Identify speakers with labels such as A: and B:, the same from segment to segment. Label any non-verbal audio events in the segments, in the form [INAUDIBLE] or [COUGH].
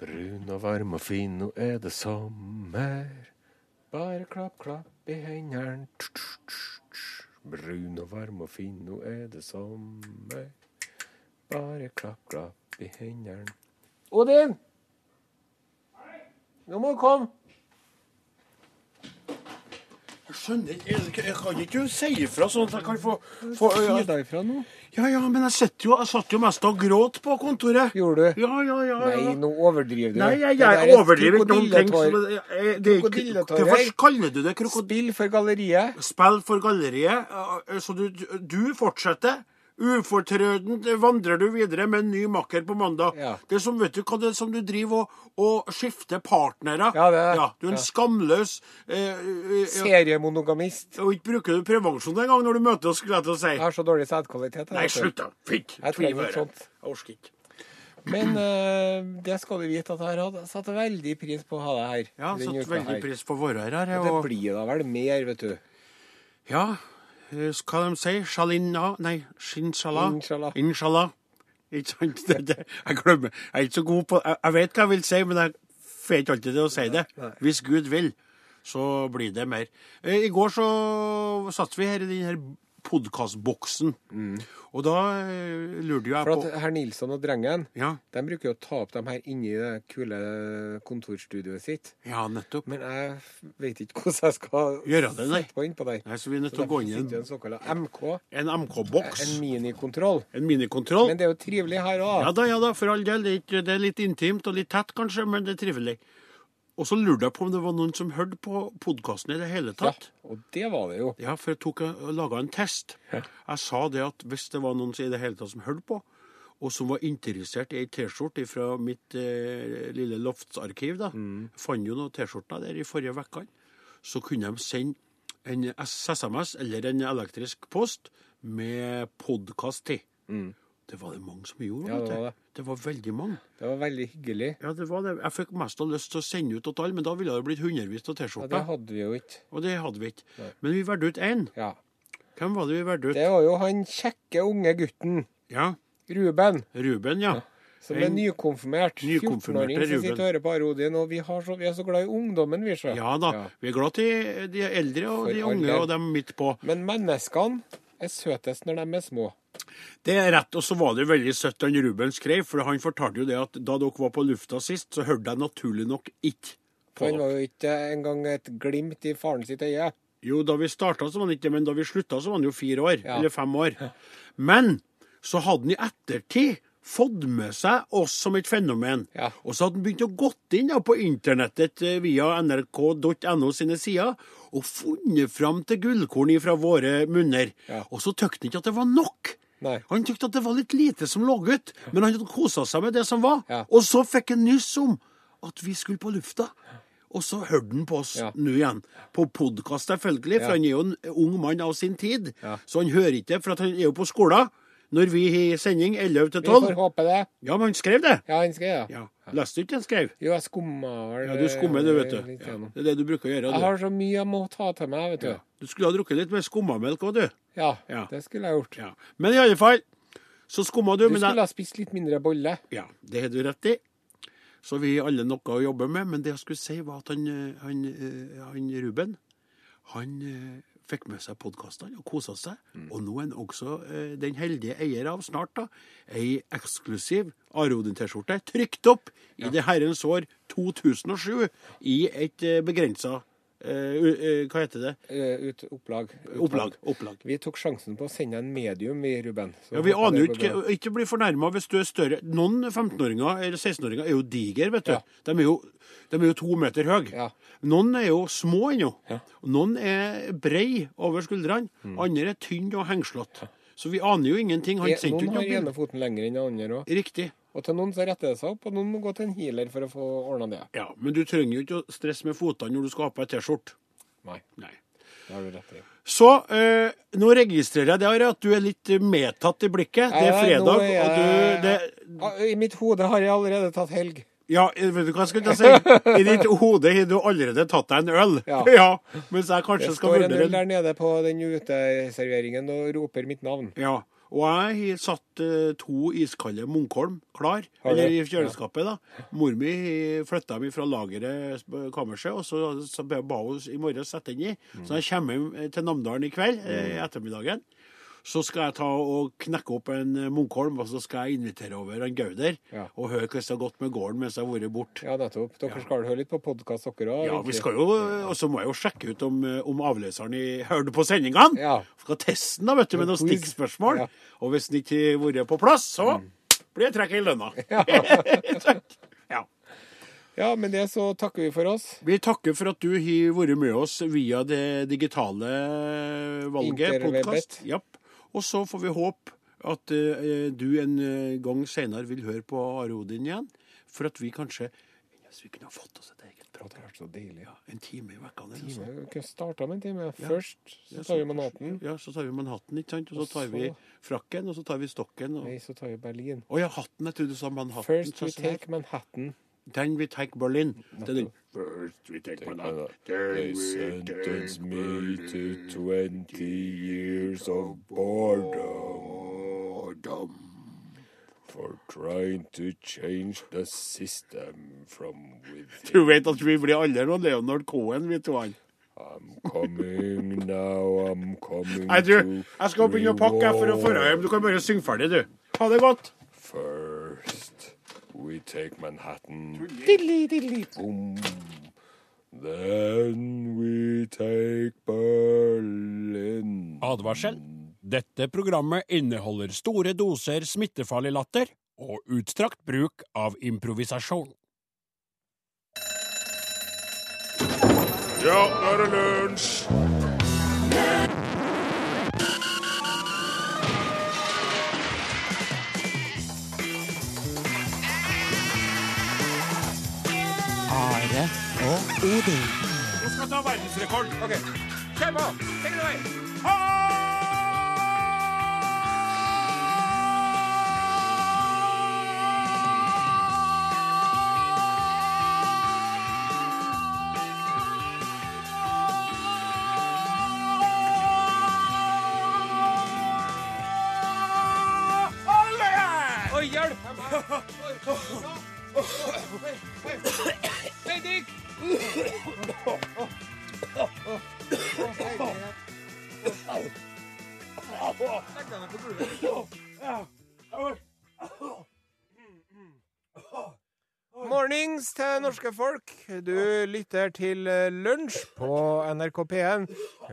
A: Brun og varm og fin, nå er det sommer. Bare klapp, klapp i hendene. Tsk, tsk, tsk, tsk. Brun og varm og fin, nå er det sommer. Bare klapp, klapp i hendene. Odin! Nå må du komme.
B: Jeg skjønner ikke, jeg, jeg kan ikke si ifra sånn at jeg kan få, få
A: Gi deg fra nå.
B: Ja, ja, men jeg, sitter jo, jeg satt jo mest og gråt på kontoret.
A: Gjorde du?
B: Ja, ja, ja. ja.
A: Nei, nå overdriver du.
B: Nei, jeg,
A: Det der
B: jeg
A: er
B: overdriver ikke noen ting.
A: krokodilletår.
B: som- jeg- jeg- det er ikke-
A: Krokodilletår, hei.
B: Hvorfor kaller du det krokodille?
A: Spill for galleriet.
B: Spill for galleriet. eh, Så du, du fortsetter. Ufortrødent vandrer du videre med en ny makker på mandag.
A: Ja.
B: Det er som, vet du, hva det er som du driver og, og skifter partnere.
A: Ja, det er det.
B: du er en
A: Ja.
B: skamløs eh, eh, ja.
A: Seriemonogamist.
B: Og ikke bruker du prevensjon engang når du møter oss, skulle jeg til å si.
A: Jeg har så dårlig sædkvalitet. jeg,
B: Nei,
A: vet du.
B: slutt, da. Fytt.
A: Jeg
B: Tviv
A: trenger ikke
B: øret.
A: sånt.
B: Jeg orker ikke.
A: Men eh, det skal du vite at jeg har hatt- satt veldig pris på å ha deg her.
B: Ja,
A: denne
B: satt
A: uka
B: veldig
A: her.
B: pris på å være her. jeg,
A: Det
B: Og,
A: blir da vel mer, vet du.
B: ja, eh, hva de sier? Shalinna? Nei, shinshallah.
A: Inshallah.
B: Inshallah. Ikke sant? [LAUGHS] Det, det, jeg glemmer. Jeg er ikke så god på Jeg, jeg vet hva jeg vil si, men jeg får ikke alltid til å si det. Hvis Gud vil, så blir det mer. Eh, I går så satt vi her i den her podkastboksen, og da eh, lurte jo jeg
A: For at
B: på
A: herr Nilsson og drengen
B: ja,
A: de bruker jo å ta opp dem her inni det kule kontorstudioet sitt.
B: ja, nettopp.
A: Men jeg f- vet ikke hvordan jeg skal
B: Gjøre det, nei.
A: sette på innpå der.
B: Nei, så vi er nødt
A: Så
B: til å gå
A: derfor
B: inn i
A: sitter jo
B: en,
A: en såkalt MK,
B: en MK-boks.
A: en minikontroll.
B: En minikontroll.
A: Men det er jo trivelig her
B: Ja
A: òg.
B: da, ja da, for all del. Det er, ikke, det er litt intimt og litt tett, kanskje, men det er trivelig. Og så lurte jeg på om det var noen som hørte på podkasten i det hele
A: Ja,
B: tatt.
A: og det var det jo.
B: Ja, for jeg tok og laga en test. Jeg sa det at hvis det var noen som i det hele tatt som hørte på, og som var interessert i ei T-skjorte fra mitt eh, lille loftsarkiv, da,
A: Mm.
B: fant jo noen T-skjorter der i forrige uke, så kunne de sende en SMS eller en elektrisk post med podkast til. Det var det mange som gjorde.
A: Mm. Ja,
B: vet
A: det
B: du.
A: var det.
B: det var veldig mange.
A: Det var veldig hyggelig.
B: Ja, det var det. Jeg fikk mest av lyst til å sende ut til alle, men da ville det blitt hundrevis
A: Ja,
B: av
A: det
B: T-skjorter.
A: hadde vi jo ikke.
B: Og det hadde vi ikke. Men vi valgte ut én.
A: Ja.
B: Hvem var det vi valgte ut?
A: Det var jo han kjekke unge gutten
B: Ja,
A: Ruben.
B: Ruben, ja.
A: Som er
B: En-
A: nykonfirmert.
B: Nykonfirmerte
A: 14-åring som sitter
B: Ruben.
A: og hører på Arodin. Og vi, har så, vi er så glad i ungdommen, vi, sjø.
B: Ja da. Vi er glad i de eldre og
A: For
B: de
A: all
B: unge
A: del.
B: og dem midt på.
A: Men menneskene er søtest når de er små.
B: Det er rett, og så var det veldig søtt han Ruben skrev, for han fortalte jo det at da dere var på lufta sist, så hørte jeg naturlig nok ikke
A: For
B: på
A: han
B: dere.
A: var jo ikke engang et glimt i faren sitt øye.
B: Jo, da vi starta så var han ikke det, men da vi slutta så var han jo fire år,
A: Ja.
B: eller fem år.
A: [LAUGHS]
B: Men så hadde han i ettertid fått med seg oss som et fenomen.
A: Ja.
B: Og så hadde han begynt å gått inn da, på internettet eh, via nrk.no sine sider og funnet fram til gullkorn ifra våre munner.
A: Ja.
B: Og så tykte han ikke at det var nok.
A: Nei.
B: Han tykte at det var litt lite som lå ut, men han hadde kosa seg med det som var.
A: Ja.
B: Og så fikk han nyss om at vi skulle på lufta. Og så hørte han på oss
A: Ja.
B: nå igjen. På podkast, selvfølgelig,
A: Ja.
B: for han er jo en ung mann av sin tid.
A: Ja.
B: Så han hører ikke, for at han er jo på skolen når vi har sending 11 til
A: Vi får
B: 12.
A: håpe det.
B: Ja, men han skrev det.
A: Ja, han skal det.
B: Ja. Leste du ikke det han skrev?
A: Jo, jeg skumma vel
B: Ja, du skummer det, vet
A: eh,
B: du.
A: litt
B: Ja,
A: gjennom.
B: det er det du bruker å gjøre.
A: Jeg
B: Du,
A: har så mye jeg må ta til meg, vet du.
B: du skulle ha drukket litt mer skummamelk òg, du.
A: Ja,
B: Ja.
A: det skulle jeg gjort.
B: Ja. Men i alle fall, så skumma du.
A: Du
B: men jeg-
A: skulle ha spist litt mindre bolle.
B: Ja, det har du rett i. Så vi har alle noe å jobbe med. Men det jeg skulle si, var at han, eh, han, eh, han Ruben han eh, fikk med seg podkastene og kosa seg. Og nå er han også eh, den heldige eier av snart da, ei eksklusiv Arodin-T-skjorte trykt opp i det herrens år 2007 i et eh, begrensa Hva heter det?
A: eh, ut, opplag.
B: Opplag. Opplag.
A: Vi tok sjansen på å sende en medium, vi, Ruben. Så
B: Ja, Vi
A: håper
B: aner
A: det
B: jo
A: går
B: ikke
A: bra.
B: Ikke bli fornærma hvis du er større. Noen 15-åringer eller 16-åringer er jo diger, vet du.
A: Ja.
B: De, er jo, de er jo to meter høye.
A: Ja.
B: Noen er jo små ennå. Noen er brei over skuldrene.
A: Mm.
B: Andre er tynne og hengslete. Så vi aner jo ingenting. Han
A: Eh,
B: sendte jo
A: Noen
B: ikke
A: har ene
B: noe bilde.
A: foten lenger enn den andre òg.
B: Riktig.
A: Og til noen så retter det seg opp, og noen må gå til en healer for å få ordna det.
B: Ja, Men du trenger jo ikke å stresse med føttene når du skal ha på ei T-skjorte.
A: Nei,
B: Nei.
A: det har du rett i.
B: Så eh, nå registrerer jeg det Are, at du er litt medtatt i blikket.
A: Nei,
B: Det er
A: nå er
B: fredag, og du
A: jeg-
B: det,
A: Ah, I mitt hode har jeg allerede tatt helg.
B: Ja,
C: eh,
B: vet du hva jeg skulle til å si? I ditt hode har du allerede tatt deg en øl.
A: [LAUGHS] Ja.
B: mens jeg
A: Det
B: kanskje skal
A: står en
B: vurdere
A: øl der nede på den uteserveringen og roper mitt navn.
B: Ja,
C: Og jeg har satt eh, to iskalde Munkholm klar,
A: Har du?
C: eller i kjøleskapet. da. Mor mi flytta dem fra lageret på kammerset, og så, så ba ba hun i morgen sette den i. Så når jeg kommer hjem eh, til Namdalen i kveld, eh,
A: Mm.
C: ettermiddagen, så skal jeg ta og knekke opp en eh, Munkholm, og så skal jeg invitere over en Gauder
A: Ja.
C: og høre hvordan det har gått med gården mens jeg har vært borte.
A: Ja, nettopp. Dere skal høre litt på podkast, dere òg?
C: Ja, vi skal jo, eh, og så må jeg jo sjekke ut om, eh, om avløseren i, hørte på sendingene.
A: Ja.
C: Skal teste den da, vet du, med noen
A: Quiz.
C: stikkspørsmål.
A: Ja.
C: Og hvis den ikke har vært på plass, så blir det trekk i [LAUGHS] lønna. Takk. ja.
A: Ja, med det så takker vi for oss.
C: Vi takker for at du har vært med oss via det digitale valget,
A: Interwebbet.
C: podkast. Og så får vi håpe at eh, du en eh, gang senere vil høre på Are Odin igjen, for at vi kanskje Hvis vi kunne ha fått oss et eget
A: Å,
C: prat,
A: Det har vært så deilig.
C: ja, en time i uka eller noe sånt.
A: Vi kunne starta med en time. Først så tar vi Manhattan.
C: Ja, så tar vi Manhattan, ikke sant? Og så
A: Og
C: tar vi
A: så-
C: frakken, og så tar vi stokken. Og...
A: Nei, så tar vi Berlin.
C: Å ja, hatten. Jeg trodde du sa Manhattan.
A: First
C: så
A: we
C: se her.
A: take Manhattan.
C: Then we take Berlin. Det er den. First we take Manhattan.
A: They sentenced me to 20 years of boredom for trying to change the system from within.
C: Du vet at vi blir alle noen Leonard Cohen, vi to han.
A: I'm coming now, I'm coming
C: Nei, du,
A: to
C: jeg skal begynne å pakke jeg, for å
A: reward.
C: dra hjem. Du kan bare synge ferdig, du. Ha det godt.
A: First, we take Manhattan. Diddly, diddly, boom. Then we take Berlin.
B: Advarsel. Dette programmet inneholder store doser smittefarlig latter og utstrakt bruk av improvisasjon.
A: Ja, nå er det lunsj!
D: Are og Odin.
C: Jeg skal ta verdensrekord.
A: Ok, kjør på! Tenk deg vei! Oi, hjelp! Bendik! Mornings til norske folk. Du lytter til eh, Lunsj på NRK P1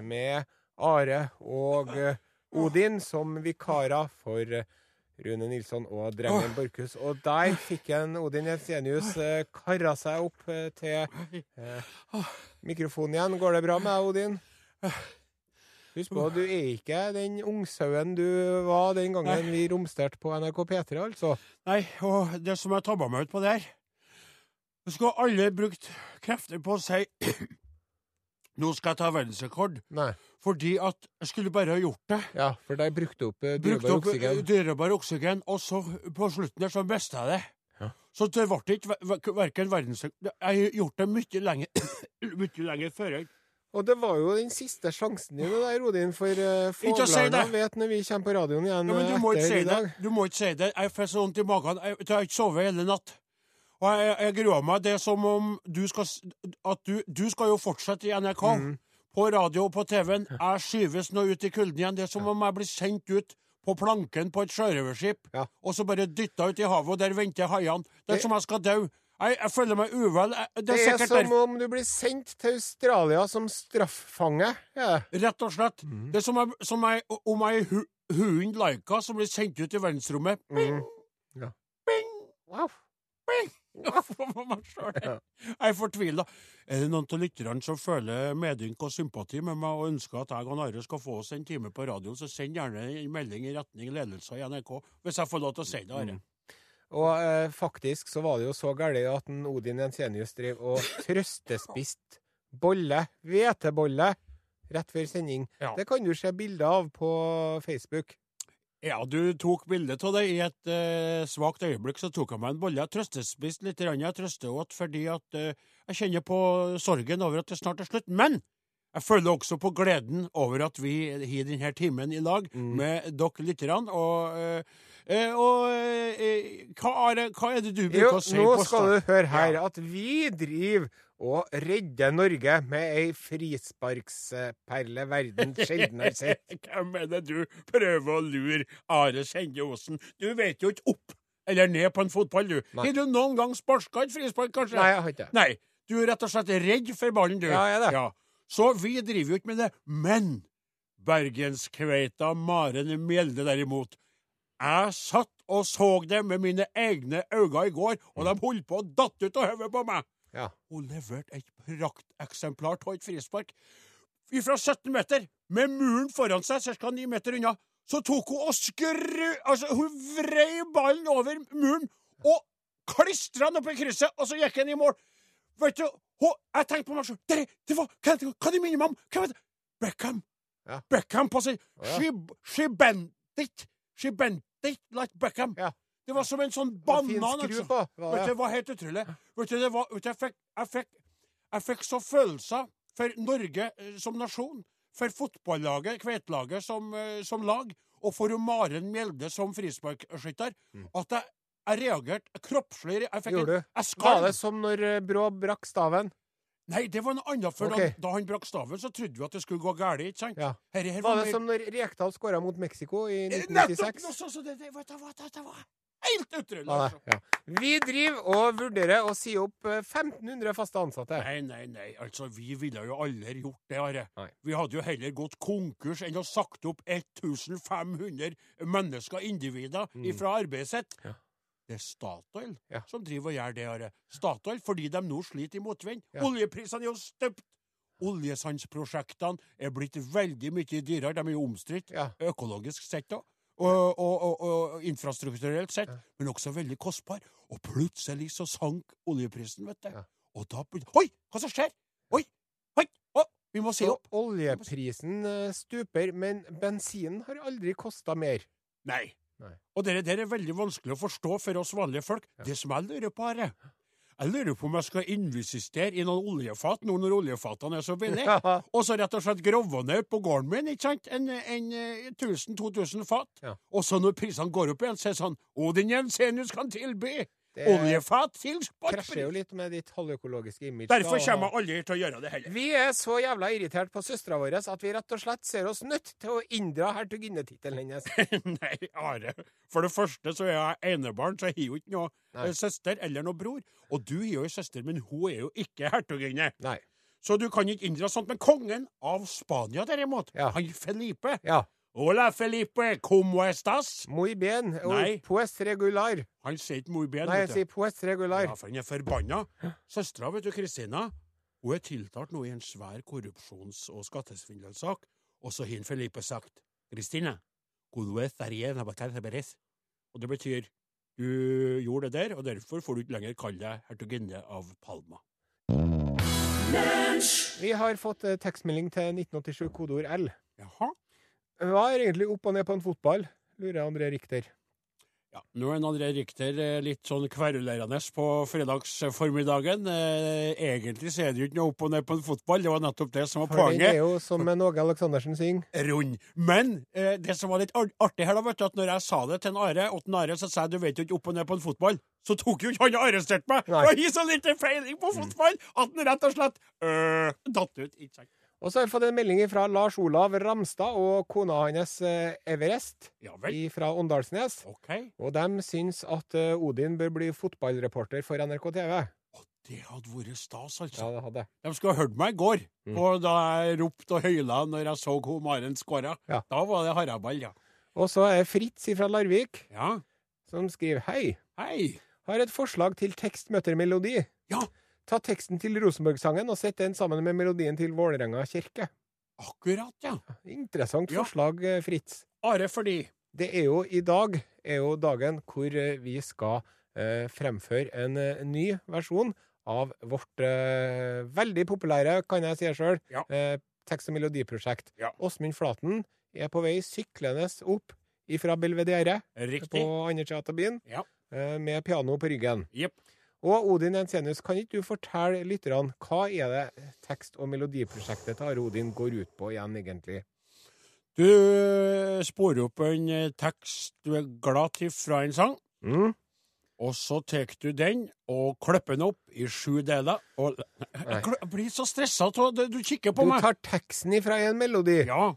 A: med Are og eh, Odin som vikarer for eh, Rune Nilsson og Drengen Borchhus. Og der fikk en Odin Jensenius eh, kara seg opp eh, til eh, mikrofonen igjen. Går det bra med deg, Odin? Husk på, du er ikke den ungsauen du var den gangen vi romsterte på NRK P3, altså.
B: Nei, og det som jeg tabba meg ut på der Du skulle alle brukt krefter på å si [CLEARS THROAT] Nå skal jeg ta verdensrekord,
A: Nei.
B: fordi at jeg skulle bare ha gjort det.
A: Ja, for der brukte du opp eh,
B: Brukte
A: dyrebar
B: opp eh,
A: oksygen.
B: dyrebar oksygen, og så på slutten der så mista jeg det.
A: Ja.
B: Så det ble ikke ver- ver- verken verdensrekord Jeg har gjort det mye lenger, [CLEARS THROAT] mye lenger før. jeg-
A: Og det var jo den siste sjansen din, det der, Odin, for uh,
B: Ikke å si
A: fåglene
B: det.
A: vet når vi kommer på radioen igjen
B: Ja, men du
A: eh,
B: må ikke
A: etter
B: si
A: i
B: det.
A: dag.
B: Du må ikke si det. Jeg får så vondt i magen. Jeg, jeg har ikke sovet hele natt. Og jeg, jeg gruer meg. Det er som om du skal s- At du, du skal jo fortsette i NRK.
A: Mm.
B: På radio og på TV-en. Jeg skyves nå ut i kulden igjen. Det er som om jeg blir sendt ut på planken på et sjørøverskip,
A: Ja.
B: og så bare dytta ut i havet, og der venter haiene. Det er
A: Det-
B: som om jeg skal dø. Jeg, jeg føler meg uvel. Jeg, det
A: Det
B: er
A: er
B: sikkert
A: som
B: derfor.
A: om du blir sendt til Australia som strafffange. Ja.
B: Rett og slett.
A: Mm.
B: Det er som, om- som jeg, om jeg er hu, hunden Laika som blir sendt ut i verdensrommet.
A: Mm. Ja. Wow.
B: [LAUGHS] for meg selv. Jeg er fortvila. Er det noen av lytterne som føler medynk og sympati med meg og ønsker at jeg og Are skal få oss en time på radioen, så send gjerne en melding i retning ledelsen i NRK, hvis jeg får lov til å si det, Are.
A: Og eh, faktisk så var det jo så galt at en Odin Jensenius drev og trøstespist bolle, hvetebolle, rett før sending.
B: Ja.
A: Det kan du se bilder av på Facebook.
B: Ja, du tok bilde av det. I et eh, svakt øyeblikk så tok jeg meg en bolle. Jeg trøstespiste litt. grann. Jeg trøster åt fordi at eh, jeg kjenner på sorgen over at det snart er slutt. Men jeg Jeg føler også på gleden over at vi har denne timen i lag
E: Mm.
B: med dere lytterne. Og, eh, eh, og eh, hva, er, det- hva er det du
E: Jo,
B: bruker å si
E: nå
B: på
E: skal du
B: start?
E: høre her at vi driver og redder Norge med ei frisparksperle verden sjelden
B: [LAUGHS]
E: har sett.
B: Hvem er det du prøver å lure, Are Sende Osen? Du vet jo ikke opp eller ned på en fotball, du.
E: Nei.
B: Har du noen gang sparka et frispark, kanskje?
E: Nei, jeg har ikke det.
B: Nei, du er rett og slett redd for ballen, du.
E: Ja, jeg er det.
B: Så vi driver jo ikke med det. Men bergenskveita Maren Mjelde derimot, jeg satt og så det med mine egne øyne i går, og de holdt på å datte ut av hodet på meg.
E: Ja.
B: Hun leverte et prakteksemplar av et frispark. Fra 17 meter, med muren foran seg, ca. 9 meter unna, så tok hun og skru... Altså, hun vrei ballen over muren og klistra den opp i krysset, og så gikk den i mål. Vet du, hun, jeg tenkte på meg sjøl Det, det var Hva det- hva det minner meg om? Hva var det? Beckham.
E: Ja.
B: Beckham på sin
E: ja.
B: She, she bent it. She bent it like Beckham.
E: Ja.
B: Det var som en sånn
E: Det var fin
B: banan,
E: skru
B: altså.
E: på, var
B: Vet du,
E: det.
B: det var helt utrolig. Vet du, det var, vet du, jeg, fikk, jeg, fikk, jeg fikk så følelser for Norge eh, som nasjon, for fotballaget, kveitelaget som, eh, som lag, og for jo Maren Mjelde som frisparkskytter, at jeg, jeg reagerte kroppslig. Jeg fikk
E: Mm. Gjorde
B: en-
E: du?
B: Jeg
E: Var
B: skalv.
E: det som når eh, Brå brakk staven?
B: Nei, det var noe annet. For
E: Ok.
B: da, da han brakk staven, så trodde vi at det skulle gå galt, ikke sant?
E: Ja.
B: Herre her
E: Var det
B: mer- Eh,
E: som når Rekdal skåra mot Mexico i
B: Nettopp!
E: 1996?
B: noe sånt som det, det, vet du hva, det, det var helt utrolig.
E: Var
B: altså.
E: det? Ja. Vi driver og vurderer å si opp eh, 1500 faste ansatte.
B: Nei, nei, nei. Altså, vi ville jo aldri gjort det, Are.
E: Nei.
B: Vi hadde jo heller gått konkurs enn å sagt opp 1500 mennesker, individer, fra arbeidet sitt.
E: Mm. Ja.
B: Det er Statoil
E: Ja.
B: som driver og gjør det, Are. Statoil fordi de nå sliter i motvind.
E: Ja.
B: Oljeprisene er jo støpt. Oljesandsprosjektene er blitt veldig mye dyrere. De er jo omstridt
E: Ja.
B: økologisk sett òg. Og, og, og, og infrastrukturelt sett, men også veldig kostbar. Og plutselig så sank oljeprisen, vet du.
E: Ja.
B: Og da begynte Oi, hva som skjer? Oi! Oi! Å, vi må se
E: Så
B: opp!
E: oljeprisen eh, stuper, men bensinen har aldri kosta mer.
B: Nei.
E: Nei.
B: Og det der er veldig vanskelig å forstå for oss vanlige folk. Det som jeg lurer på, Are Jeg lurer på om jeg skal investere i noen oljefat nå når oljefatene er så billige. Og så rett og slett grove ned på gården min, ikke sant? En, en, eh, 1000-2000 fat.
E: Ja.
B: Og så når prisene går opp igjen, så er det sånn Odin Jensenius kan tilby
E: Det
B: oljefat til
E: Eh, krasjer jo
B: spotpris!
E: litt med ditt halvøkologiske image.
B: Derfor
E: da.
B: kommer jeg aldri til å gjøre det heller. [LAUGHS]
E: Vi er så jævla irritert på søstera vår at vi rett og slett ser oss nødt til å inndra hertuginnetittelen hennes.
B: Nei, Are. For det første så er jeg enebarn, så jeg har jo ikke noe
E: Nei.
B: eh, søster eller noe bror. Og du har jo en søster, men hun er jo ikke hertuginne.
E: [LAUGHS] Nei.
B: Så du kan ikke inndra sånt. Men kongen av Spania, derimot,
E: Ja.
B: han Felipe
E: Ja.
B: Hola, Felipe, como estas?
E: Muy bien. og
B: Nei.
E: Pues regular.
B: Han sier ikke mor ben.
E: Nei, jeg
B: vet du.
E: sier pues regular.
B: Ja, for han er forbanna. Søstera, vet du, Kristina, hun er tiltalt nå i en svær korrupsjons- og skattesvindelsak, og så har Felipe sagt Kristina, og det betyr du gjorde det der, og derfor får du ikke lenger kalle deg hertuginne av Palma.
E: Vi har fått eh, tekstmelding til 1987 kodeord L.
B: Jaha.
E: Hva er egentlig opp og ned på en fotball? lurer André Richter.
B: Ja, nå er en André Richter eh, litt sånn kverulerende på fredagsformiddagen. Eh, Egentlig så er det jo ikke noe opp og ned på en fotball, det var nettopp det som var
E: For den
B: poenget.
E: er jo som en Åge Aleksandersen synger.
B: rund. Men eh, det som var litt ar- artig her, da, vet du, at når jeg sa det til en Are, og til en Are, så sa jeg du vet jo ikke opp og ned på en fotball. Så tok jo ikke han og arresterte meg!
E: Nei. Mm.
B: For jeg har så lite feiling på fotball at han rett og slett øh, datt ut. Ikke sant?
E: Og så har vi fått en melding fra Lars Olav Ramstad og kona hans eh, Everest
B: Ja vel.
E: fra Åndalsnes.
B: OK.
E: Og de syns at eh, Odin bør bli fotballreporter for NRK TV.
B: Det hadde vært stas,
E: Ja, Mm.
B: altså.
E: det hadde jeg.
B: De skulle ha hørt meg i går, og da jeg ropte og høyla når jeg så hvor Maren skåra.
E: Ja.
B: Da var det haraball, ja.
E: Og så er Fritz fra Larvik
B: ja.
E: som skriver Hei,
B: Hei.
E: har et forslag til tekst møter melodi.
B: Ja.
E: Ta teksten til Rosenborg-sangen og sett den sammen med melodien til Vålerenga kirke.
B: Akkurat, ja.
E: Interessant
B: Ja.
E: forslag, eh, Fritz.
B: Are fordi
E: Det er jo i dag er jo dagen hvor eh, vi skal eh, fremføre en eh, ny versjon av vårt eh, veldig populære, kan jeg si det sjøl,
B: Ja.
E: eh, tekst- og melodiprosjekt.
B: Ja.
E: Åsmund Flaten er på vei syklende opp ifra Belvedere
B: Riktig.
E: på andre sida av byen
B: Ja.
E: eh, med piano på ryggen.
B: Jepp.
E: Og Odin Ensenius, kan ikke du fortelle lytterne hva er det tekst- og melodiprosjektet til Are Odin går ut på igjen, egentlig?
B: Du sporer opp en eh, tekst du er glad til fra en sang,
E: Mm.
B: og så tar du den og klipper den opp i sju deler. Og jeg kl- blir så stressa av det du kikker
E: Du
B: på meg.
E: tar teksten ifra en melodi,
B: Ja,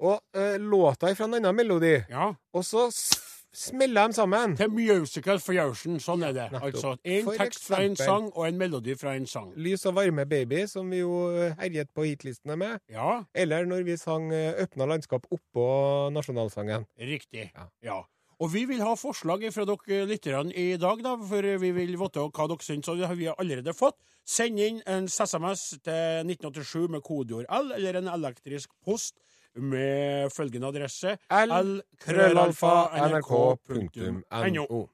E: og eh, låta ifra en annen melodi,
B: ja.
E: og så s- smeller de sammen.
B: Til musical fjørsen. Sånn er det.
E: nettopp.
B: Altså en
E: For
B: tekst fra en
E: eksempel.
B: sang og en melodi fra en sang.
E: Lys og varme baby, som vi jo eh, herjet på hitlistene med.
B: Ja,
E: Eller når vi sang eh, Øpna landskap oppå nasjonalsangen.
B: riktig.
E: Ja.
B: Ja. Og vi vil ha forslag fra dere lytterne i dag, da, for vi vil vite hva dere syns. Og det har vi allerede fått. Send inn en SMS til 1987 med kodeord L, eller en elektrisk post med følgende adresse
E: L
B: L.krøllalfa.nrk.no.
E: nrk.no.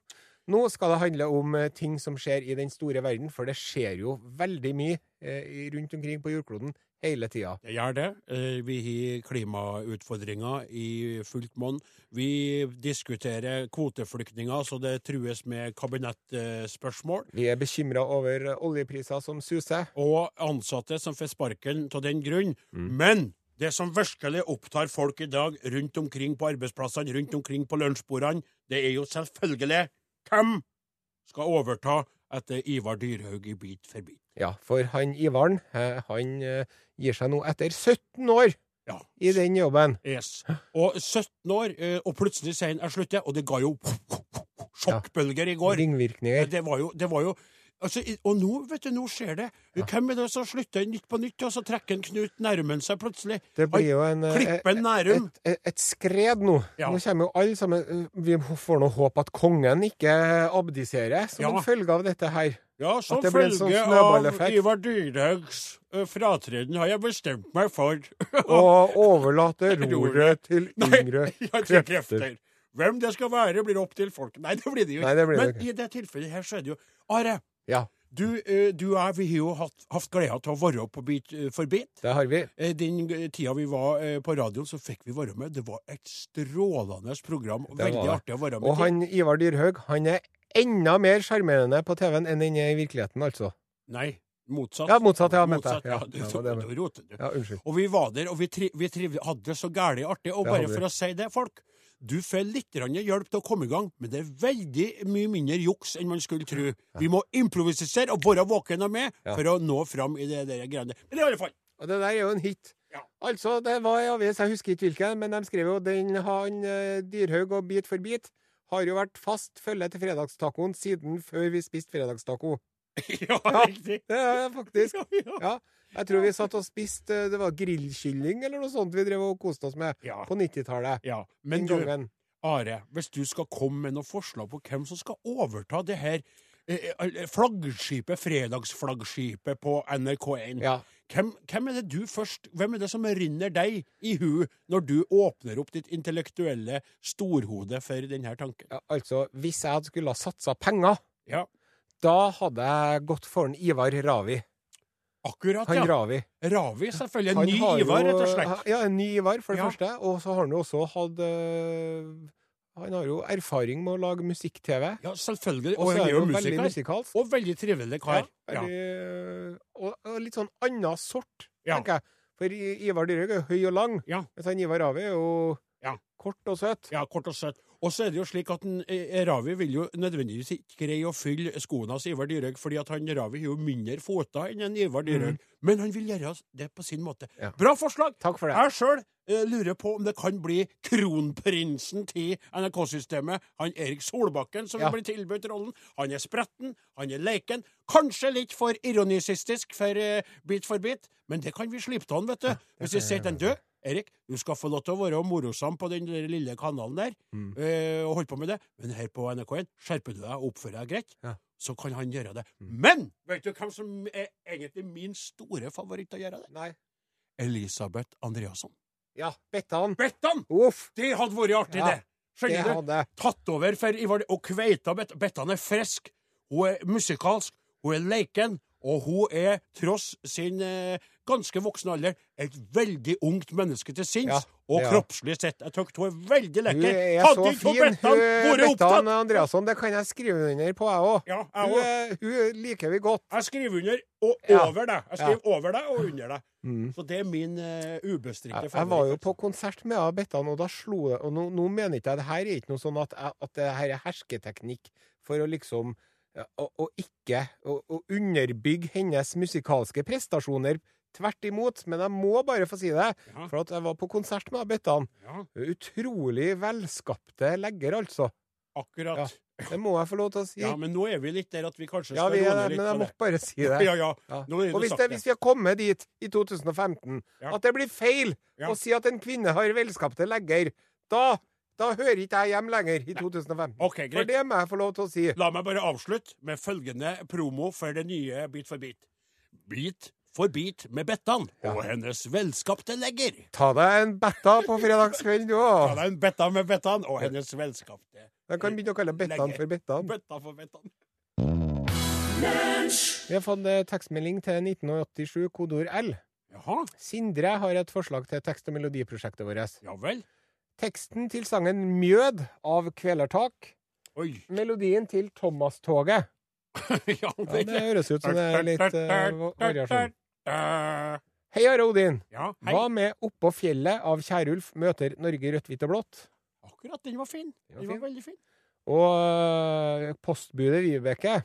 E: Nå skal det handle om eh, ting som skjer i den store verden, for det skjer jo veldig mye eh, i- rundt omkring på jordkloden hele tida.
B: Det gjør det. Eh, Vi har klimautfordringer i fullt monn. Vi diskuterer kvoteflyktninger, så det trues med kabinettspørsmål.
E: Vi er bekymra over eh, oljepriser som suser.
B: Og ansatte som får sparken av den grunn.
E: Mm.
B: Men det som virkelig opptar folk i dag rundt omkring på arbeidsplassene, rundt omkring på lunsjbordene, det er jo selvfølgelig hvem skal overta etter Ivar Dyrhaug i Bit for bit.
E: Ja, for han Ivaren, eh, han eh, gir seg nå etter 17 år
B: Ja.
E: i den jobben.
B: Yes. Og 17 år, eh, og plutselig sier han jeg slutter, og det ga jo sjokkbølger i går.
E: Ringvirkninger.
B: Det var jo, det var jo altså, i- Og nå, vet du, nå skjer det. Hvem er det som slutter i Nytt på Nytt, og så trekker en Knut Nærumen seg plutselig?
E: Det blir jo en eh,
B: Klippen Nærum.
E: et, et, et skred nå.
B: Ja.
E: Nå kommer jo alle sammen eh, Vi får nå håpe at kongen ikke abdiserer som
B: Ja.
E: en følge av dette her.
B: Ja, som
E: At det blir en
B: følge
E: sånn
B: av
E: snøballeffekt.
B: Ivar Dyrhaugs eh, fratreden har jeg bestemt meg for [LAUGHS]
E: Og overlate roret til
B: Nei,
E: yngre
B: ja, til
E: krefter.
B: krefter. Hvem det skal være, blir opp til folk. Nei, det blir det jo
E: Nei, det blir
B: Men
E: det
B: i det tilfellet her så er det jo Are,
E: Ja,
B: du, eh, du og jeg, vi har jo hatt, hatt gleda til å være på Bit eh, for bit.
E: det har vi.
B: Eh, Den g- tida vi var eh, på radioen, så fikk vi være med. Det var et strålende program. og
E: Det
B: Veldig
E: var det.
B: artig å være med.
E: Og han Ivar Dyrhaug, han er enda mer sjarmerende på TV-en enn han er i virkeligheten, altså.
B: Nei, motsatt.
E: Ja, motsatt, ja, mente jeg.
B: Motsatt, ja,
E: Ja,
B: du,
E: ja, det var det jeg
B: du roter, du.
E: Ja, unnskyld.
B: Og vi var der, og vi, tri vi triv hadde det så gærlig artig. Og
E: Det
B: bare
E: hadde vi.
B: for å si det, folk, du får litt grann hjelp til å komme i gang, men det er veldig mye mindre juks enn man skulle tro. Vi må improvisere og være våkne og med
E: Ja.
B: for å nå fram i det der greiene. Men i alle fall, [LAUGHS]
E: Og det der er jo en hit.
B: Ja.
E: Altså, det var en avis, jeg husker ikke hvilken, men de skrev jo den han eh, Dyrhaug og Bit for bit har jo vært fast følge til fredagstacoen siden før vi spiste fredagstaco.
B: ja, riktig.
E: Det er faktisk.
B: Ja, ja.
E: Ja. Jeg tror vi satt og spiste eh, det var grillkylling eller noe sånt vi drev og koste oss med
B: Ja.
E: på 90-tallet.
B: Ja,
E: Den
B: men du,
E: gangen.
B: Are, hvis du skal komme med noen forslag på hvem som skal overta det her eh, eh, flaggskipet, fredagsflaggskipet på NRK1
E: Ja.
B: hvem, hvem er det du først Hvem er det som rinner deg i hu når du åpner opp ditt intellektuelle storhode for denne tanken?
E: ja. Altså, hvis jeg hadde skulle ha satsa penger,
B: Ja,
E: da hadde jeg gått for en Ivar Ravi.
B: akkurat,
E: Han
B: ja.
E: Ravi.
B: Ravi, selvfølgelig. En
E: Han
B: ny
E: har jo-
B: Ivar, rett og slett.
E: Ja, en ny Ivar, for det
B: Ja.
E: første. Og så har han jo også hatt øh, Han har jo erfaring med å lage musikk-TV.
B: Ja, selvfølgelig.
E: Og
B: Og
E: så
B: han er jo
E: veldig
B: musiker.
E: musikalsk.
B: Og veldig trivelig kar.
E: Ja,
B: Ja,
E: veldig, øh, og, og litt sånn annen sort,
B: Ja.
E: tenker jeg. For I- Ivar Dyrhaug er jo høy og lang,
B: Ja.
E: mens han Ivar Ravi er jo
B: Ja.
E: kort og søt.
B: ja kort og søtt. Og så er det jo slik at en, eh, Ravi vil jo nødvendigvis ikke greie å fylle skoene hans Ivar Dyrhaug, fordi at han Ravi har jo mindre føtter enn en Ivar Dyrhaug. Men han vil gjøre det på sin måte.
E: Mm. Ja.
B: Bra forslag!
E: Takk for det.
B: Jeg sjøl eh, lurer på om det kan bli kronprinsen til NRK-systemet. Han Erik Solbakken som
E: Ja.
B: blir tilbudt rollen. Han er spretten, han er leken. Kanskje litt for ironisistisk for eh, Bit for bit, men det kan vi slippe av han, vet du. Hvis jeg sier til han du, Erik, du skal få lov til å være morosam på den der lille kanalen der,
E: Mm.
B: eh, og holde på med det, men her på NRK1 skjerper du deg og oppfører deg greit.
E: Ja. Mm.
B: Så kan han gjøre det. Men vet du hvem som er egentlig min store favoritt til å gjøre det?
E: Nei.
B: Elisabeth Andreasson.
E: Ja. Bettan.
B: Bettan!
E: Uff,
B: Det hadde vært artig,
E: Ja,
B: det.
E: det
B: Skjønner du?
E: hadde jeg.
B: Tatt over for Ivar og kveita Bet Bettan er frisk. Hun er musikalsk, hun er leken, og hun er, tross sin eh, ganske voksne alder, et veldig ungt menneske til sinns.
E: Ja.
B: og
E: Ja.
B: kroppslig sett. Jeg syns hun er veldig
E: Hun
B: lekker.
E: er så
B: Hadde ikke hun
E: fin,
B: Bettan
E: hun
B: vært
E: Bettan
B: opptatt
E: Andreasson. Det kan jeg skrive under på, jeg òg.
B: Ja, jeg
E: Hun,
B: også.
E: er- hun liker vi godt.
B: Jeg skriver under og
E: Ja. Mm.
B: over deg. Jeg skriver over deg og under deg. Så det er min eh, ubestridte
E: Jeg, jeg var jo på
B: liksom.
E: konsert med henne, Bettan, og da slo det Og nå, nå mener ikke jeg det her er ikke noe sånn at, jeg- at det her er hersketeknikk for å liksom ja, Å, å ikke å, å underbygge hennes musikalske prestasjoner. Tvert imot, men jeg må bare få si det,
B: Ja.
E: for at jeg var på konsert med henne, Bettan.
B: Ja.
E: Utrolig velskapte legger, altså.
B: Akkurat.
E: Ja.
B: Ja.
E: Det må jeg få lov til å si.
B: men nå er vi litt der at vi kanskje
E: Ja,
B: skal
E: vi er
B: roe
E: det,
B: litt sånn.
E: men jeg
B: på det.
E: måtte bare si det.
B: Ja, ja.
E: Ja.
B: Nå er
E: Og hvis,
B: sagt
E: det, hvis vi har kommet dit i 2015
B: Ja.
E: at det blir feil
B: Ja.
E: å si at en kvinne har velskapte legger, da, da hører ikke jeg hjem lenger i 2015.
B: Ok, greit.
E: For det må jeg få lov til å si.
B: La meg bare avslutte med følgende promo for det nye Bit for bit. Bit for bit med Bettan og hennes velskapte legger.
E: Ta deg en betta på fredagskvelden, du
B: Ja,
E: òg.
B: det er en Bettan med Bettan og hennes velskapte
E: Jeg kan begynne å kalle Bettan
B: legger.
E: for Bettan.
B: Bettan for Bettan.
E: Vi har fått eh, tekstmelding til 1987, kodeord L.
B: Jaha.
E: Sindre har et forslag til tekst- og melodiprosjektet vårt.
B: Ja vel.
E: Teksten til sangen Mjød av Kvelertak.
B: Oi. [LAUGHS]
E: Melodien til Thomas-toget.
B: ja,
E: Ja, det høres ut som det er litt eh, variasjon.
B: [LAUGHS] Ja,
E: Hei, Are Odin.
B: hei.
E: Hva med Oppå fjellet av Kjærulf møter Norge rødt, hvitt og blått?
B: Akkurat, den var fin.
E: Den var
B: Den var veldig fin.
E: Og øh, postbudet Vibeke,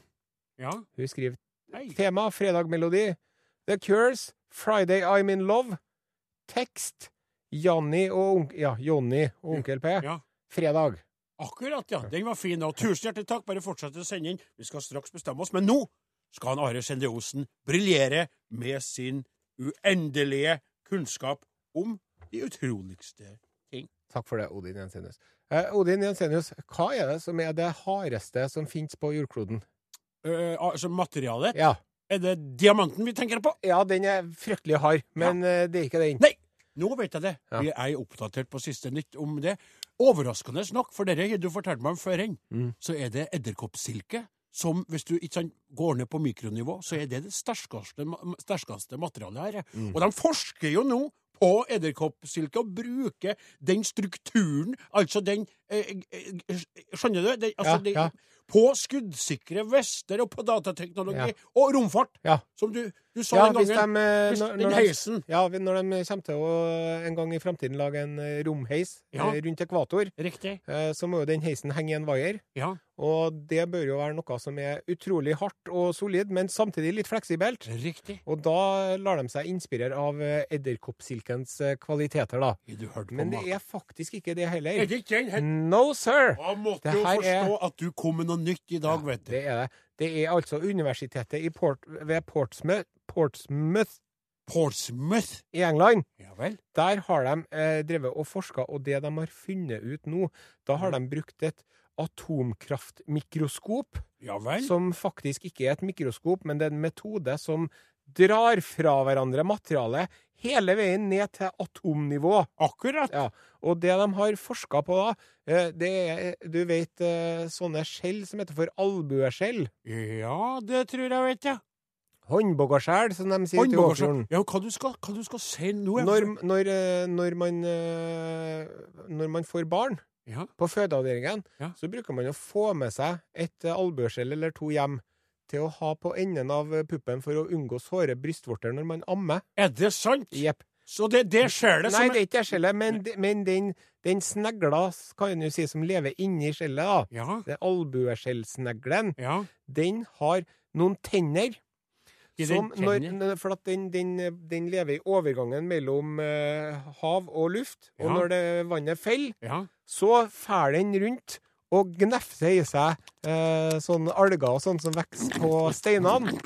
B: Ja,
E: hun skriver
B: hei.
E: tema fredag-melodi. The Cures, Friday I'm in love. Tekst Janni og onk ja, Jonny og Onkel P.
B: Ja.
E: Fredag.
B: Akkurat, ja. Den var fin. Og tusen hjertelig takk. Bare fortsett å sende inn. Vi skal straks bestemme oss. Men nå skal han Are Sende Osen briljere med sin uendelige kunnskap om de utroligste
E: Takk for det, Odin Jensenius. Eh, Odin Jensenius, hva er det som er det hardeste som fins på
B: [LAUGHS]
E: jordkloden?
B: Eh, Altså materialet.
E: Ja.
B: Er det diamanten vi tenker på?
E: ja, den er fryktelig hard, men eh, det er ikke den.
B: Nei! Nå vet jeg det.
E: Ja.
B: Vi er oppdatert på siste nytt om det. Overraskende nok, for dere har du fortalte meg om før enn,
E: Mm.
B: så er det edderkoppsilke. Som, hvis du ikke sant, går ned på mikronivå, så er det det sterkeste, ma- sterkeste materialet her. ja.
E: Mm.
B: Og de forsker jo nå på edderkoppsilke og bruker den strukturen, altså den eh, eh, eh, Skjønner du? Den, altså,
E: Ja, ja.
B: Den, på skuddsikre vester og på datateknologi
E: Ja.
B: og romfart,
E: Ja.
B: som du, du sa
E: Ja,
B: en
E: hvis de,
B: gang.
E: eh,
B: hvis
E: når,
B: den
E: når de
B: heisen
E: Ja, vi- når de kommer til å en gang i framtiden lage en eh, romheis
B: Ja.
E: eh, rundt ekvator,
B: Riktig.
E: eh, så må jo den heisen henge i en vaier.
B: Ja.
E: Og det bør jo være noe som er utrolig hardt og solid, men samtidig litt fleksibelt.
B: Riktig.
E: Og da lar de seg inspirere av eh, edderkoppsilkens eh, kvaliteter, da.
B: Har du hørt på
E: Men det
B: maken?
E: er faktisk ikke det
B: Er
E: heller.
B: det ikke den her?
E: No, sir!
B: Jeg måtte
E: Mm. Det
B: jo
E: her
B: forstå at du kom med noe nytt i dag, vet du.
E: Det er det. Det er altså universitetet i Port, ved Portsmouth, Portsmouth
B: Portsmouth.
E: i England.
B: Ja vel.
E: Der har de eh, drevet og forska, og det de har funnet ut nå, da har de brukt et atomkraftmikroskop,
B: Ja vel.
E: som faktisk ikke er et mikroskop, men det er en metode som drar fra hverandre materialet hele veien ned til atomnivå.
B: Akkurat.
E: Ja, og det de har forska på da, eh, det er, du vet, eh, sånne skjell som heter for albueskjell.
B: Ja, det tror jeg vet, ja.
E: Håndboggaskjell, som de sier til
B: Håndbagasje.
E: Åfjorden.
B: Ja, hva du skal, hva du skal si nå? jeg-
E: Når, når, eh, når, man, eh, når man får barn,
B: Ja.
E: på fødeavdelingen,
B: Ja.
E: så bruker man å få med seg et eh, albueskjell eller to hjem til å ha på enden av eh, puppen for å unngå såre brystvorter når man ammer.
B: Er det sant?
E: Jepp.
B: Så det, det skjer det
E: Nei,
B: som
E: det er ikke det skjellet, men, de- men den, den snegla, kan en jo si, som lever inni skjellet, da.
B: Ja.
E: Det er albueskjellsneglen.
B: ja.
E: Den har noen tenner.
B: I
E: Som
B: den
E: når,
B: tenner?
E: n- for at den, den, den lever i overgangen mellom eh, hav og luft, og
B: Ja.
E: når det, vannet faller,
B: ja.
E: så fær den rundt og gnefser i seg eh, sånn alger og sånn som vokser på steinene.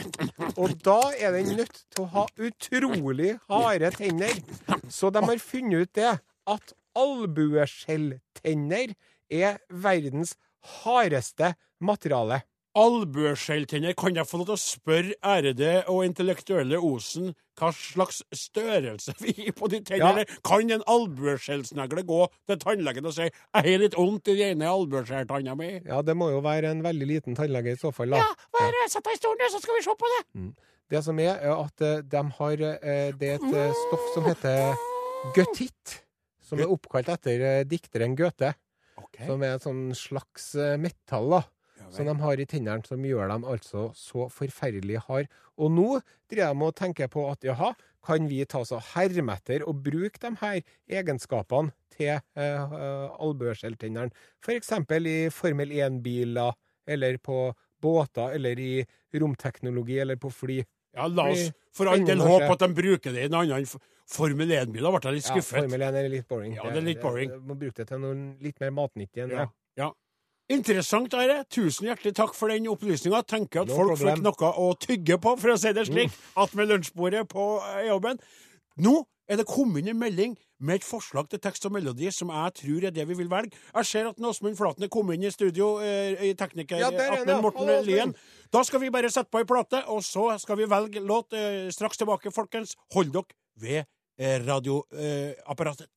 E: Og da er den nødt til å ha utrolig harde tenner. Så de har funnet ut det, at albueskjelltenner er verdens hardeste materiale.
B: Albueskjelltenner, kan jeg få lov til å spørre ærede og intellektuelle Osen hva slags størrelse vi gir på de tennene? Kan en albueskjellsnegle gå til tannlegen og si 'jeg har litt vondt i den ene albueskjelltanna mi'?
E: Ja, det må jo være en veldig liten tannlege i så fall, da.
B: Bare sett deg i stolen, så skal vi se på det.
E: Det som Eh, er, er at eh, de har eh, Det er et eh, stoff som heter guttitt, som er oppkalt etter eh, dikteren Goethe.
B: Ok.
E: Som er et sånn slags eh, metall da,
B: Ja, vel.
E: som de har i tennene, som gjør dem altså så forferdelig hard. Og nå driver de og tenker på at jaha, kan vi ta oss av herme etter og bruke de her egenskapene til eh, eh, albueskjelltennene? For eksempel i Formel 1-biler, eller på båter, eller i romteknologi, eller på fly.
B: Ja, la oss
E: Blir
B: for all del
E: spennende å
B: håpe
E: se.
B: at de bruker det i en annen f- Formel 1-bil. Da ble jeg litt
E: Ja,
B: skuffet.
E: Formel 1 er litt boring.
B: Ja, det er litt boring.
E: Jeg, må bruke det til noe litt mer matnyttig enn
B: Ja.
E: det.
B: Ja. Interessant, Are. Tusen hjertelig takk for den opplysninga. Tenker at
E: No
B: folk
E: problem. Mm.
B: fikk noe å tygge på, for å si det slik, at med lunsjbordet på eh, jobben. Nå er det kommet inn en melding med et forslag til tekst og melodi som jeg tror er det vi vil velge. Jeg ser at Åsmund Flaten er kommet inn i studio, eh, i tekniker
E: Ja, der er han,
B: Atmen
E: ja.
B: Morten
E: Hallo, Åsmund.
B: Lien. Da skal vi bare sette på ei plate, og så skal vi velge låt eh, straks tilbake, folkens. Hold dere ved eh, radioapparatet.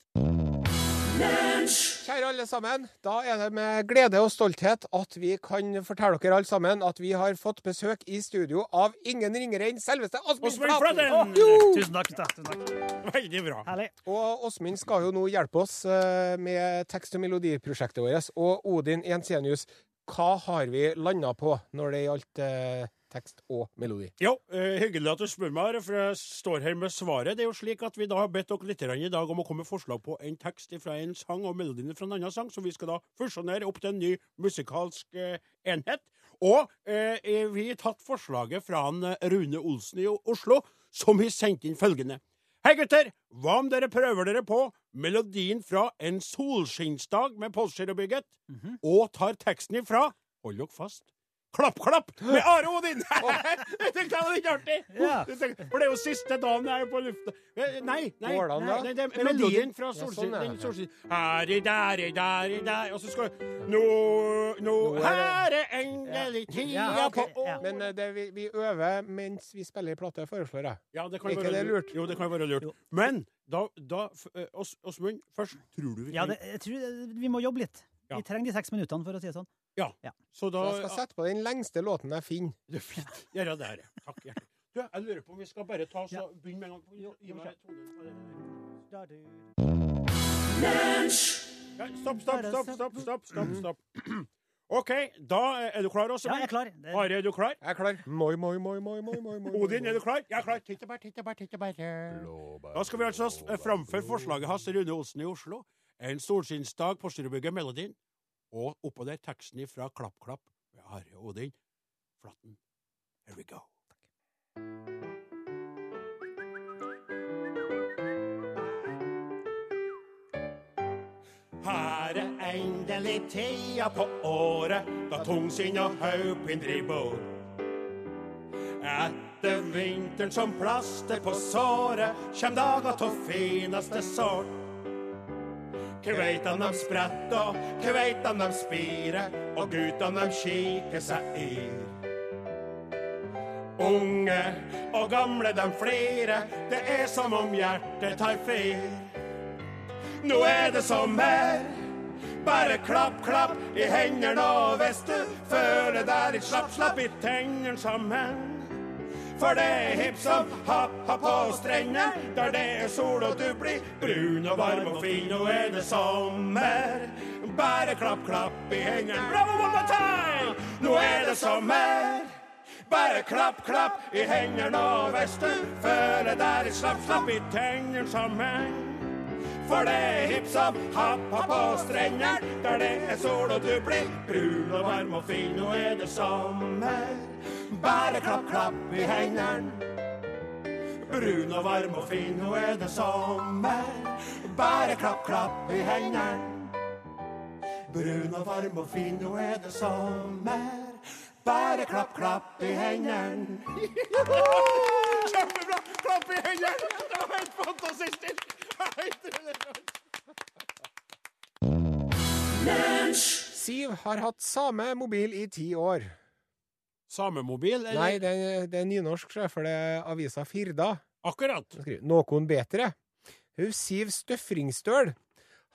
E: Kjære alle sammen, da er det med glede og stolthet at vi kan fortelle dere alle sammen at vi har fått besøk i studio av ingen ringere enn selveste Åsmund
B: Åsmund
E: Flaten!
B: Flaten!
F: Tusen takk. da, Tusen takk.
B: Veldig bra.
F: Herlig.
E: Og Åsmund skal jo nå hjelpe oss eh, med tekst- og melodiprosjektet vårt. Og Odin Jensenius, hva har vi landa på når det gjaldt eh, tekst og melodi?
B: Jo, eh, hyggelig at du spør meg, Are, for jeg står her med svaret. Det er jo slik at vi da har bedt dere litt i dag om å komme med forslag på en tekst fra en sang og melodien fra en annen sang, som vi skal da fusjonere opp til en ny musikalsk eh, enhet. Og eh, eh, vi har tatt forslaget fra han, eh, Rune Olsen i O- Oslo, som har sendt inn følgende. Hei gutter, hva om dere prøver dere på melodien fra En solskinnsdag med Polskirkebygget, og tar teksten ifra, hold dere fast, Klapp, klapp med Are Odin! [LAUGHS] Det tenkte jeg var litt artig!
F: Ja.
B: Det tenkte- For det er jo siste dagen jeg er på lufta. Eh, Nei, nei.
E: Går det an, da?
B: nei, det er
E: Melodien?
B: melodien fra
E: Ja,
B: Solsiden.
E: sånn, ja.
B: den solsiden. Her i der i der i der Og så skal Nå, nå
E: Nå er det-
B: Her er engel i tida
F: Ja,
B: på
F: ok, ja.
E: Men eh, det vi, vi øver mens vi spiller i plate, foreslår jeg.
B: Ja, det kan
E: Er ikke
B: være
E: det lurt?
B: Jo, det kan være lurt.
F: Jo.
B: Men da, da f- eh, Ås- Åsmund, først tror du vi
F: Ja,
B: kan
F: det, jeg tror eh, vi må jobbe litt.
B: Ja.
F: Vi trenger de seks minuttene, for å si det sånn.
B: Så
E: Så jeg
B: da
E: skal sette på den lengste låten jeg finner.
B: Det er fint. Gjør det der, ja. Takk hjertelig. Du, jeg lurer på om vi skal bare ta oss
F: Ja.
B: og begynne med en gang. Gi meg tonen på det der. Ja, Stopp, stopp, stopp,
F: Bare stopp.
B: stopp, stopp, stopp, stopp. OK, da er du klar også,
F: Ja, jeg
B: Bjørn?
F: er klar. Det,
B: Are, er du klar?
E: Jeg er klar. Moi, moi, moi, moi, moi, moi, moi,
B: Odin, er
E: moi.
B: du klar? Jeg er klar. Tittebær, tittebær, tittebær. Da skal vi altså s- framføre forslaget hans Rune Olsen i Oslo. En solskinnsdag på Styrubygget Melodien. Og oppå der teksten fra Klapp Klapp med Are og Odin. Flatten. Here we go. Her er endelig tida på året da tungsinn og haupinn driver bort. Etter vinteren som plaster på såret, kjem dager tå fineste sort. Kveitene dem spretter, kveitene dem spirer, og guttene dem kikker seg i. Unge og gamle dem flirer, det er som om hjertet tar fyr. Nå er det sommer, bare klapp, klapp i hendene, og hvis du føler deg litt slapp, slapp i tennene sammen. For det er hipp som happ, happ på strender Der det er sol og du blir brun og varm og fin Nå er det sommer Bare klapp, klapp i hendene Bravo, one more time! Nå er det sommer Bare klapp, klapp i hendene Og hvis du føler deg litt slapp, slapp i tennene sammen for det er hipp som happ, happ på strender Der det er sol og du blir brun og varm og fin Nå er det sommer Bare klapp, klapp i hendene Brun og varm og fin Nå er det sommer Bare klapp, klapp i hendene Brun og varm og fin Nå er det sommer Bare klapp, klapp i hendene Kjempebra! Klapp i hendene! Det var helt fantastisk!
E: Siv har hatt same mobil i ti år.
B: Samemobil, eller?
E: Nei, det er, det er nynorsk, sjø, for det er avisa Firda.
B: Akkurat.
E: Hun skriver, Noen bedre. Hun Siv Støfringstøl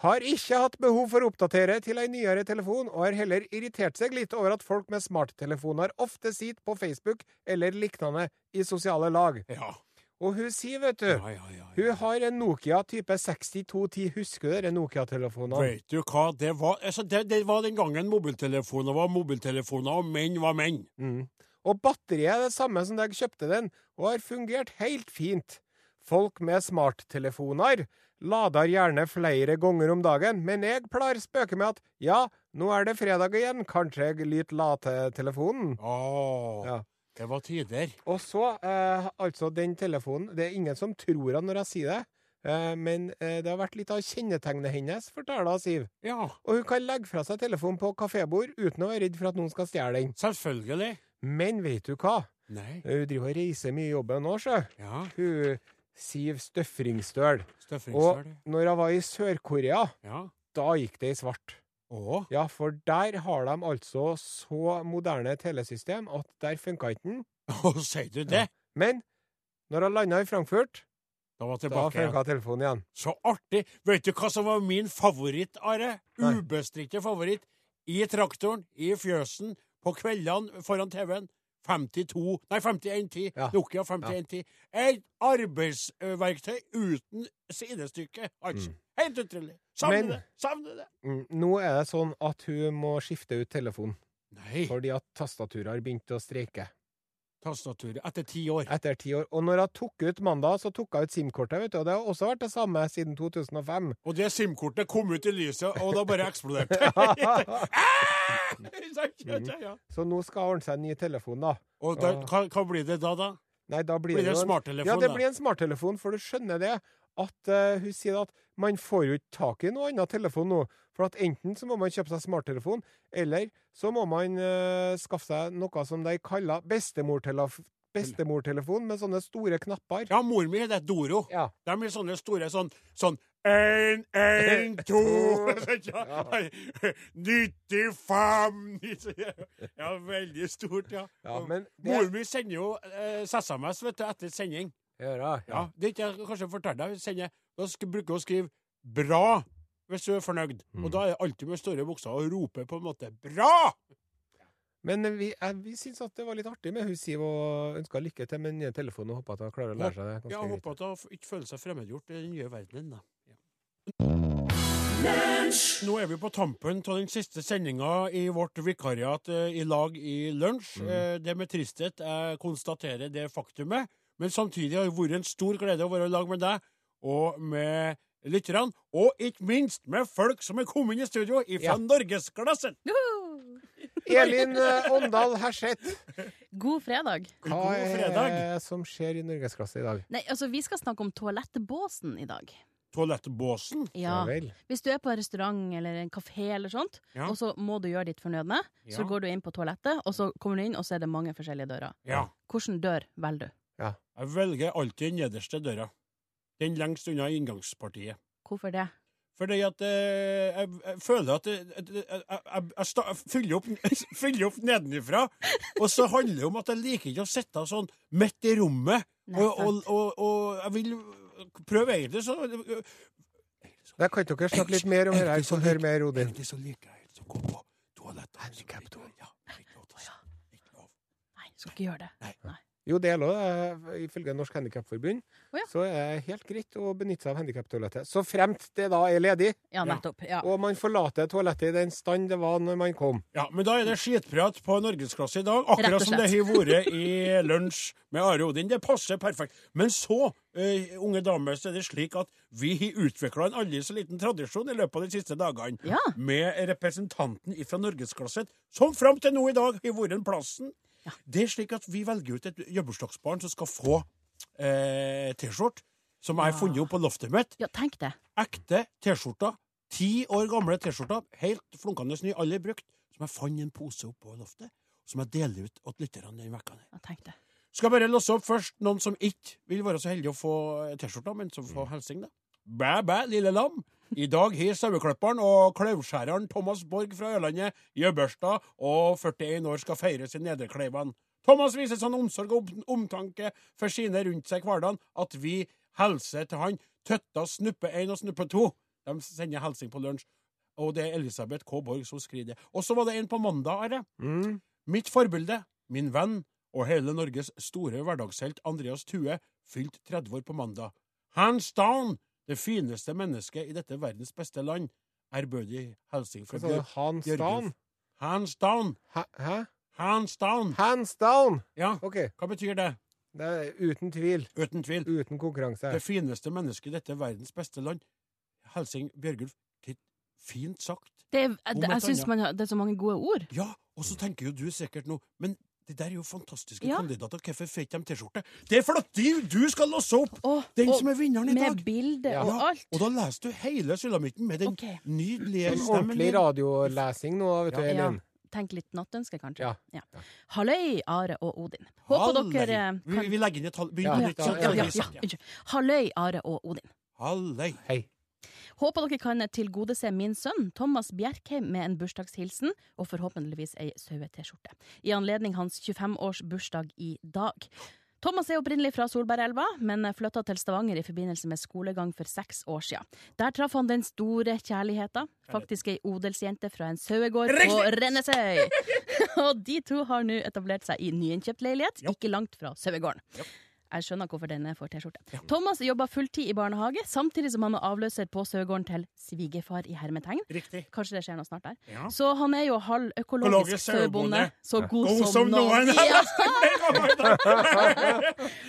E: har ikke hatt behov for å oppdatere til ei nyere telefon, og har heller irritert seg litt over at folk med smarttelefoner ofte sitter på Facebook eller lignende i sosiale lag.
B: Ja.
E: Og hun sier, vet du
B: Ja, ja, ja, ja.
E: Hun har en Nokia type 6210. Husker du de Nokia-telefonene?
B: Vet du hva, det var, altså det, det var den gangen mobiltelefoner var mobiltelefoner, og menn var menn.
E: Mm. Og batteriet er det samme som da jeg kjøpte den, og har fungert helt fint. Folk med smarttelefoner lader gjerne flere ganger om dagen, men jeg pleier å spøke med at ja, nå er det fredag igjen, kanskje jeg lyt la til telefonen.
B: Åh,
E: Mm. Ja.
B: det var tider.
E: Og så, eh, altså den telefonen Det er ingen som tror henne når jeg sier det, eh, men eh, det har vært litt av kjennetegnet hennes, forteller hun Siv.
B: Ja,
E: Og hun kan legge fra seg telefonen på kafébord uten å være redd for at noen skal stjele den.
B: selvfølgelig.
E: Men vet du hva?
B: Nei,
E: Hun driver og reiser mye i jobben nå, sjø.
B: ja,
E: Hun Siv Støfringstøl. Og
B: støffingsel.
E: når hun var i Sør-Korea,
B: Ja,
E: da gikk det i svart.
B: åh,
E: Ja, for der har de altså så moderne telesystem at der funka ikke den.
B: og [LAUGHS] sier du det?
E: Men når hun landa i Frankfurt,
B: Da var
E: da
B: tilbake igjen.
E: funka telefonen igjen.
B: Så artig. Vet du hva som var min favoritt, Are?
E: Nei.
B: Ubestridte favoritt. I traktoren, i fjøsen, på kveldene foran TV-en. 52 Nei, 5110.
E: Ja.
B: Nokia 5110. Et arbeidsverktøy uten sidestykke. Altså. Helt utrolig. Savner
E: Mm. Men-
B: det! Savner det!
E: Mm, Nå er det sånn at hun må skifte ut telefonen,
B: Nei.
E: fordi at tastaturet har begynt å streike.
B: Tastaturet. Etter ti år.
E: Etter ti år. Og når hun tok ut mandag, så tok hun ut SIM-kortet, vet du. Og det har også vært det samme siden 2005.
B: Og det SIM-kortet kom ut i lyset, og da bare eksploderte Ah!
E: [LAUGHS]
B: Ja.
E: Så nå skal hun ordne seg en ny telefon, da.
B: Og da, hva, hva blir det da, da?
E: Nei, da blir,
B: Blir det en
E: jo en-
B: smarttelefon,
E: Ja, det
B: da?
E: blir en smarttelefon, for du skjønner det. At eh, hun sier at man får jo ikke tak i noe annet telefon nå. For at enten så må man kjøpe seg smarttelefon, eller så må man eh, skaffe seg noe som de kaller bestemortelef bestemortelefon, med sånne store knapper.
B: Ja, mor mi heter Doro.
E: Ja.
B: De er sånne store sånn sånn Én, [LAUGHS] én, to [LAUGHS] ja. 95 [LAUGHS] Ja, veldig stort, ja.
E: Ja, men
B: Mor mi sender jo eh, SMS vet du, etter sending.
E: Gjør det,
B: Ja, Det er ikke jeg kanskje fortalte deg. Hun sender- Da sk- bruker hun å skrive 'bra' hvis hun er fornøyd. Og da er det alltid med store bukser og roper på en måte 'bra'!
E: Men vi, jeg, vi syns at det var litt artig med hun Siv, og ønska lykke til med den nye telefonen, og håper at hun klarer å lære seg det. ganske
B: Ja,
E: greit.
B: håper at hun f- ikke føler seg fremmedgjort i den nye verdenen, da. Ja. Nå er vi på tampen av den siste sendinga i vårt vikariat eh, i lag i lunsj.
E: Mm.
B: Eh, Det er med tristhet jeg konstaterer det faktumet, men samtidig har det vært en stor glede å være i lag med deg og med lytterne, og ikke minst med folk som er kommet inn i studio fra
E: Ja.
B: norgesklassen!
E: Elin eh, Åndal Herseth,
G: God fredag.
E: hva
B: God
E: er
B: fredag.
E: det som skjer i norgesklasse i dag?
G: Nei, altså, vi skal snakke om toalettbåsen i dag.
B: Toalettbåsen.
G: Ja.
E: vel.
G: Hvis du er på en restaurant eller en kafé eller sånt,
B: Ja.
G: og så må du gjøre ditt fornødne,
B: Ja.
G: så går du inn på toalettet, og så kommer du inn, og så er det mange forskjellige dører.
B: Ja.
G: Hvilken dør velger du?
B: Jeg velger alltid den nederste døra. Den lengst unna inngangspartiet.
G: Hvorfor det?
B: Fordi at eh, jeg, jeg føler at jeg, jeg, jeg, jeg, jeg, sta- jeg fyller, opp, [LAUGHS] fyller opp nedenifra, og så handler det om at jeg liker ikke å sitte sånn midt i rommet.
G: Nei,
B: Og, og,
G: sant.
B: og, og jeg vil prøve egentlig, så eh,
E: Der kan dere snakke litt mer om det her, så hør mer, Odin.
B: Egentlig så liker jeg ikke å gå på toalettet. Handikaptoalett. Ja, ikke lov til å si. Ikke lov.
G: Nei, du skal ikke gjøre det.
B: Nei.
G: Nei.
E: Jo, det er lov, eh, ifølge Norsk Handikapforbund.
G: Å, ja.
E: Så er det helt greit å benytte seg av handikaptoalettet. Så fremt det da er ledig,
G: Ja, nettopp. Ja.
E: og man forlater toalettet i den stand det var når man kom.
B: Ja, men da er det skitprat på norgesklasse i dag,
G: Rett
B: akkurat
G: og
B: som det har
G: [LAUGHS]
B: vært i lunsj med Are Odin. Det passer perfekt. Men så, eh, unge damer, så er det slik at vi har utvikla en aldri så liten tradisjon i løpet av de siste dagene
G: Ja.
B: med representanten fra norgesklassen, som fram til nå i dag har vært den plassen. Det er slik at vi velger ut et jubileumsbarn som skal få eh, T-skjorte, som jeg har funnet opp på loftet mitt
G: ja, tenk det.
B: ekte T-skjorter. Ti år gamle T-skjorter, helt flunkende ny, aldri brukt, som jeg fant i en pose oppå loftet, som jeg deler ut til lytterne den uka. her.
G: Ja, tenk det.
B: Skal jeg bare låse opp først noen som ikke vil være så heldige å få eh, T-skjorta, men som får hilsing, da. Bæ, bæ, lille lam. I dag har saueklipperen og klauvskjæreren Thomas Borg fra Ørlandet gjøbørsdag, og 41 år skal feires i Nederkleivan. Thomas viser sånn omsorg og om- omtanke for sine rundt seg i hverdagen at vi hilser til han. Tøtta Snuppe 1 og Snuppe 2. De sender hilsing på lunsj. Og det er
E: Mm.
B: Elisabeth K. Borg som skriver det. Og så var det en på mandag, Are. Mitt forbilde, min venn og hele Norges store hverdagshelt Andreas Thue fylte 30 år på mandag. Hands down det fineste mennesket i dette verdens beste land. Ærbødig hilsen fra
E: Hva sa du?
B: Bjør-
E: Hands
B: Bjørgulf.
E: down?
B: Hands down!
E: Hæ? Hæ?
B: Hands down!
E: Hands down!
B: Ja,
E: OK.
B: hva betyr det?
E: Det er uten tvil.
B: Uten tvil.
E: Uten konkurranse.
B: Det fineste mennesket i dette verdens beste land. Helsing Bjørgulf, hva fint sagt.
G: Det, er- jeg,
B: Om et
G: jeg syns
B: annet.
G: man har- det er så mange gode ord.
B: Ja, og så tenker jo du sikkert nå Men det der er jo fantastiske
G: Ja.
B: kandidater. Hvorfor fikk de T-skjorte? Det er fordi du skal låse opp
G: Og,
B: den
G: og
B: som er vinneren i
G: med
B: dag!
G: bilde
E: Ja.
G: og alt.
B: Og da leser du hele sulamitten med den
G: Ok.
B: nydelige
E: Sånn
B: stemmen.
E: ordentlig
B: din.
E: radiolesing nå, vet du,
G: Ja.
E: Elin.
G: Tenk litt nattønske, kanskje.
E: Ja.
G: Halløy, Are og Odin. Håper
B: Halløy.
G: dere eh,
B: vi,
G: kan
B: vi legger inn et halv...
E: Ja,
B: Begynn på nytt.
E: ja,
B: sant?
G: ja, ja,
B: Sånn,
G: ja,
B: sånn,
G: unnskyld. Halløy, Are og Odin.
B: Halløy.
E: Hei.
G: Håper dere kan tilgodese min sønn Thomas Bjerkheim med en bursdagshilsen og forhåpentligvis ei saue-T-skjorte. I anledning hans 25-årsbursdag i dag. Thomas er opprinnelig fra Solbergelva, men flytta til Stavanger i forbindelse med skolegang for seks år sia. Der traff han den store kjærligheta, faktisk ei odelsjente fra en sauegård på Rennesøy. [LAUGHS] og de to har nå etablert seg i nyinnkjøpt leilighet, ikke langt fra sauegården. Jeg skjønner hvorfor denne får T-skjorte. Thomas jobber fulltid i barnehage, samtidig som han er avløser på Søgården til svigerfar i hermetegn.
B: Riktig.
G: Kanskje det skjer noe snart der.
B: Ja.
G: Så han er jo halv
B: Økologisk
G: økologisk sauebonde.
B: sauebonde.
G: Så god,
B: God som [LAUGHS] noen.
G: Ja.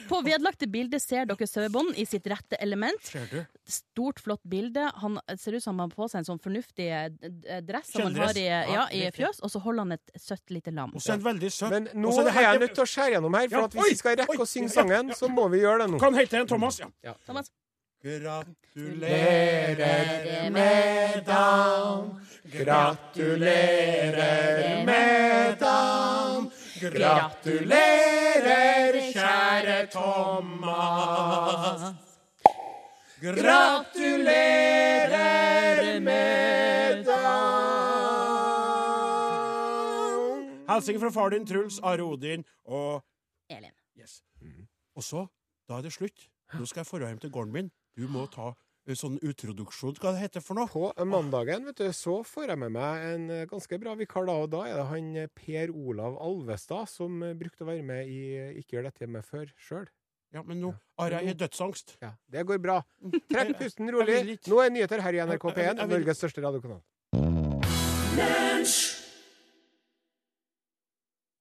G: På vedlagte bilde ser dere sauebånd i sitt rette element.
B: Ser du?
G: Stort, flott bilde. Han ser ut som han har på seg en sånn fornuftig eh, d- dress som han har i,
B: Kjeledress.
G: ja,
B: Ja,
G: i
B: riktig.
G: fjøs, og så holder han et søtt lite lam.
B: Og så en veldig søt
E: Men
B: Og
E: nå
B: så er
E: er
B: det her-
E: jeg nødt til å skjære gjennom her,
B: Ja,
E: for at
B: oi,
E: hvis vi skal
B: oi,
E: rekke å synge
B: ja,
E: sangen,
B: ja.
E: så må vi gjøre det nå.
B: Kan hete en Thomas, ja.
E: Ja.
G: Thomas.
E: Gratulerer med dagen, gratulerer med dagen. Gratulerer, kjære
B: Thomas.
E: Gratulerer med dagen.
B: Hilsen fra far din, Truls, Are Odin og
G: Elin.
B: Yes. Og så, da er det slutt. Nå skal jeg dra hjem til gården min. Du må ta eh, sånn utroduksjon, hva det heter for noe?
E: På mandagen vet du, så får jeg med meg en eh, ganske bra vikar da, og da er det han eh, Per Olav Alvestad som eh, brukte å være med i eh, Ikke gjør dette hjemme før sjøl.
B: Ja, men nå har jeg dødsangst.
E: Ja, det går
B: [LAUGHS]
E: bra. Trekk pusten
B: Jeg
E: rolig.
B: vil ikke.
E: Nå er nyheter her i NRK
B: Jeg- jeg-
E: P1,
B: jeg vil-
E: Norges største radiokanal.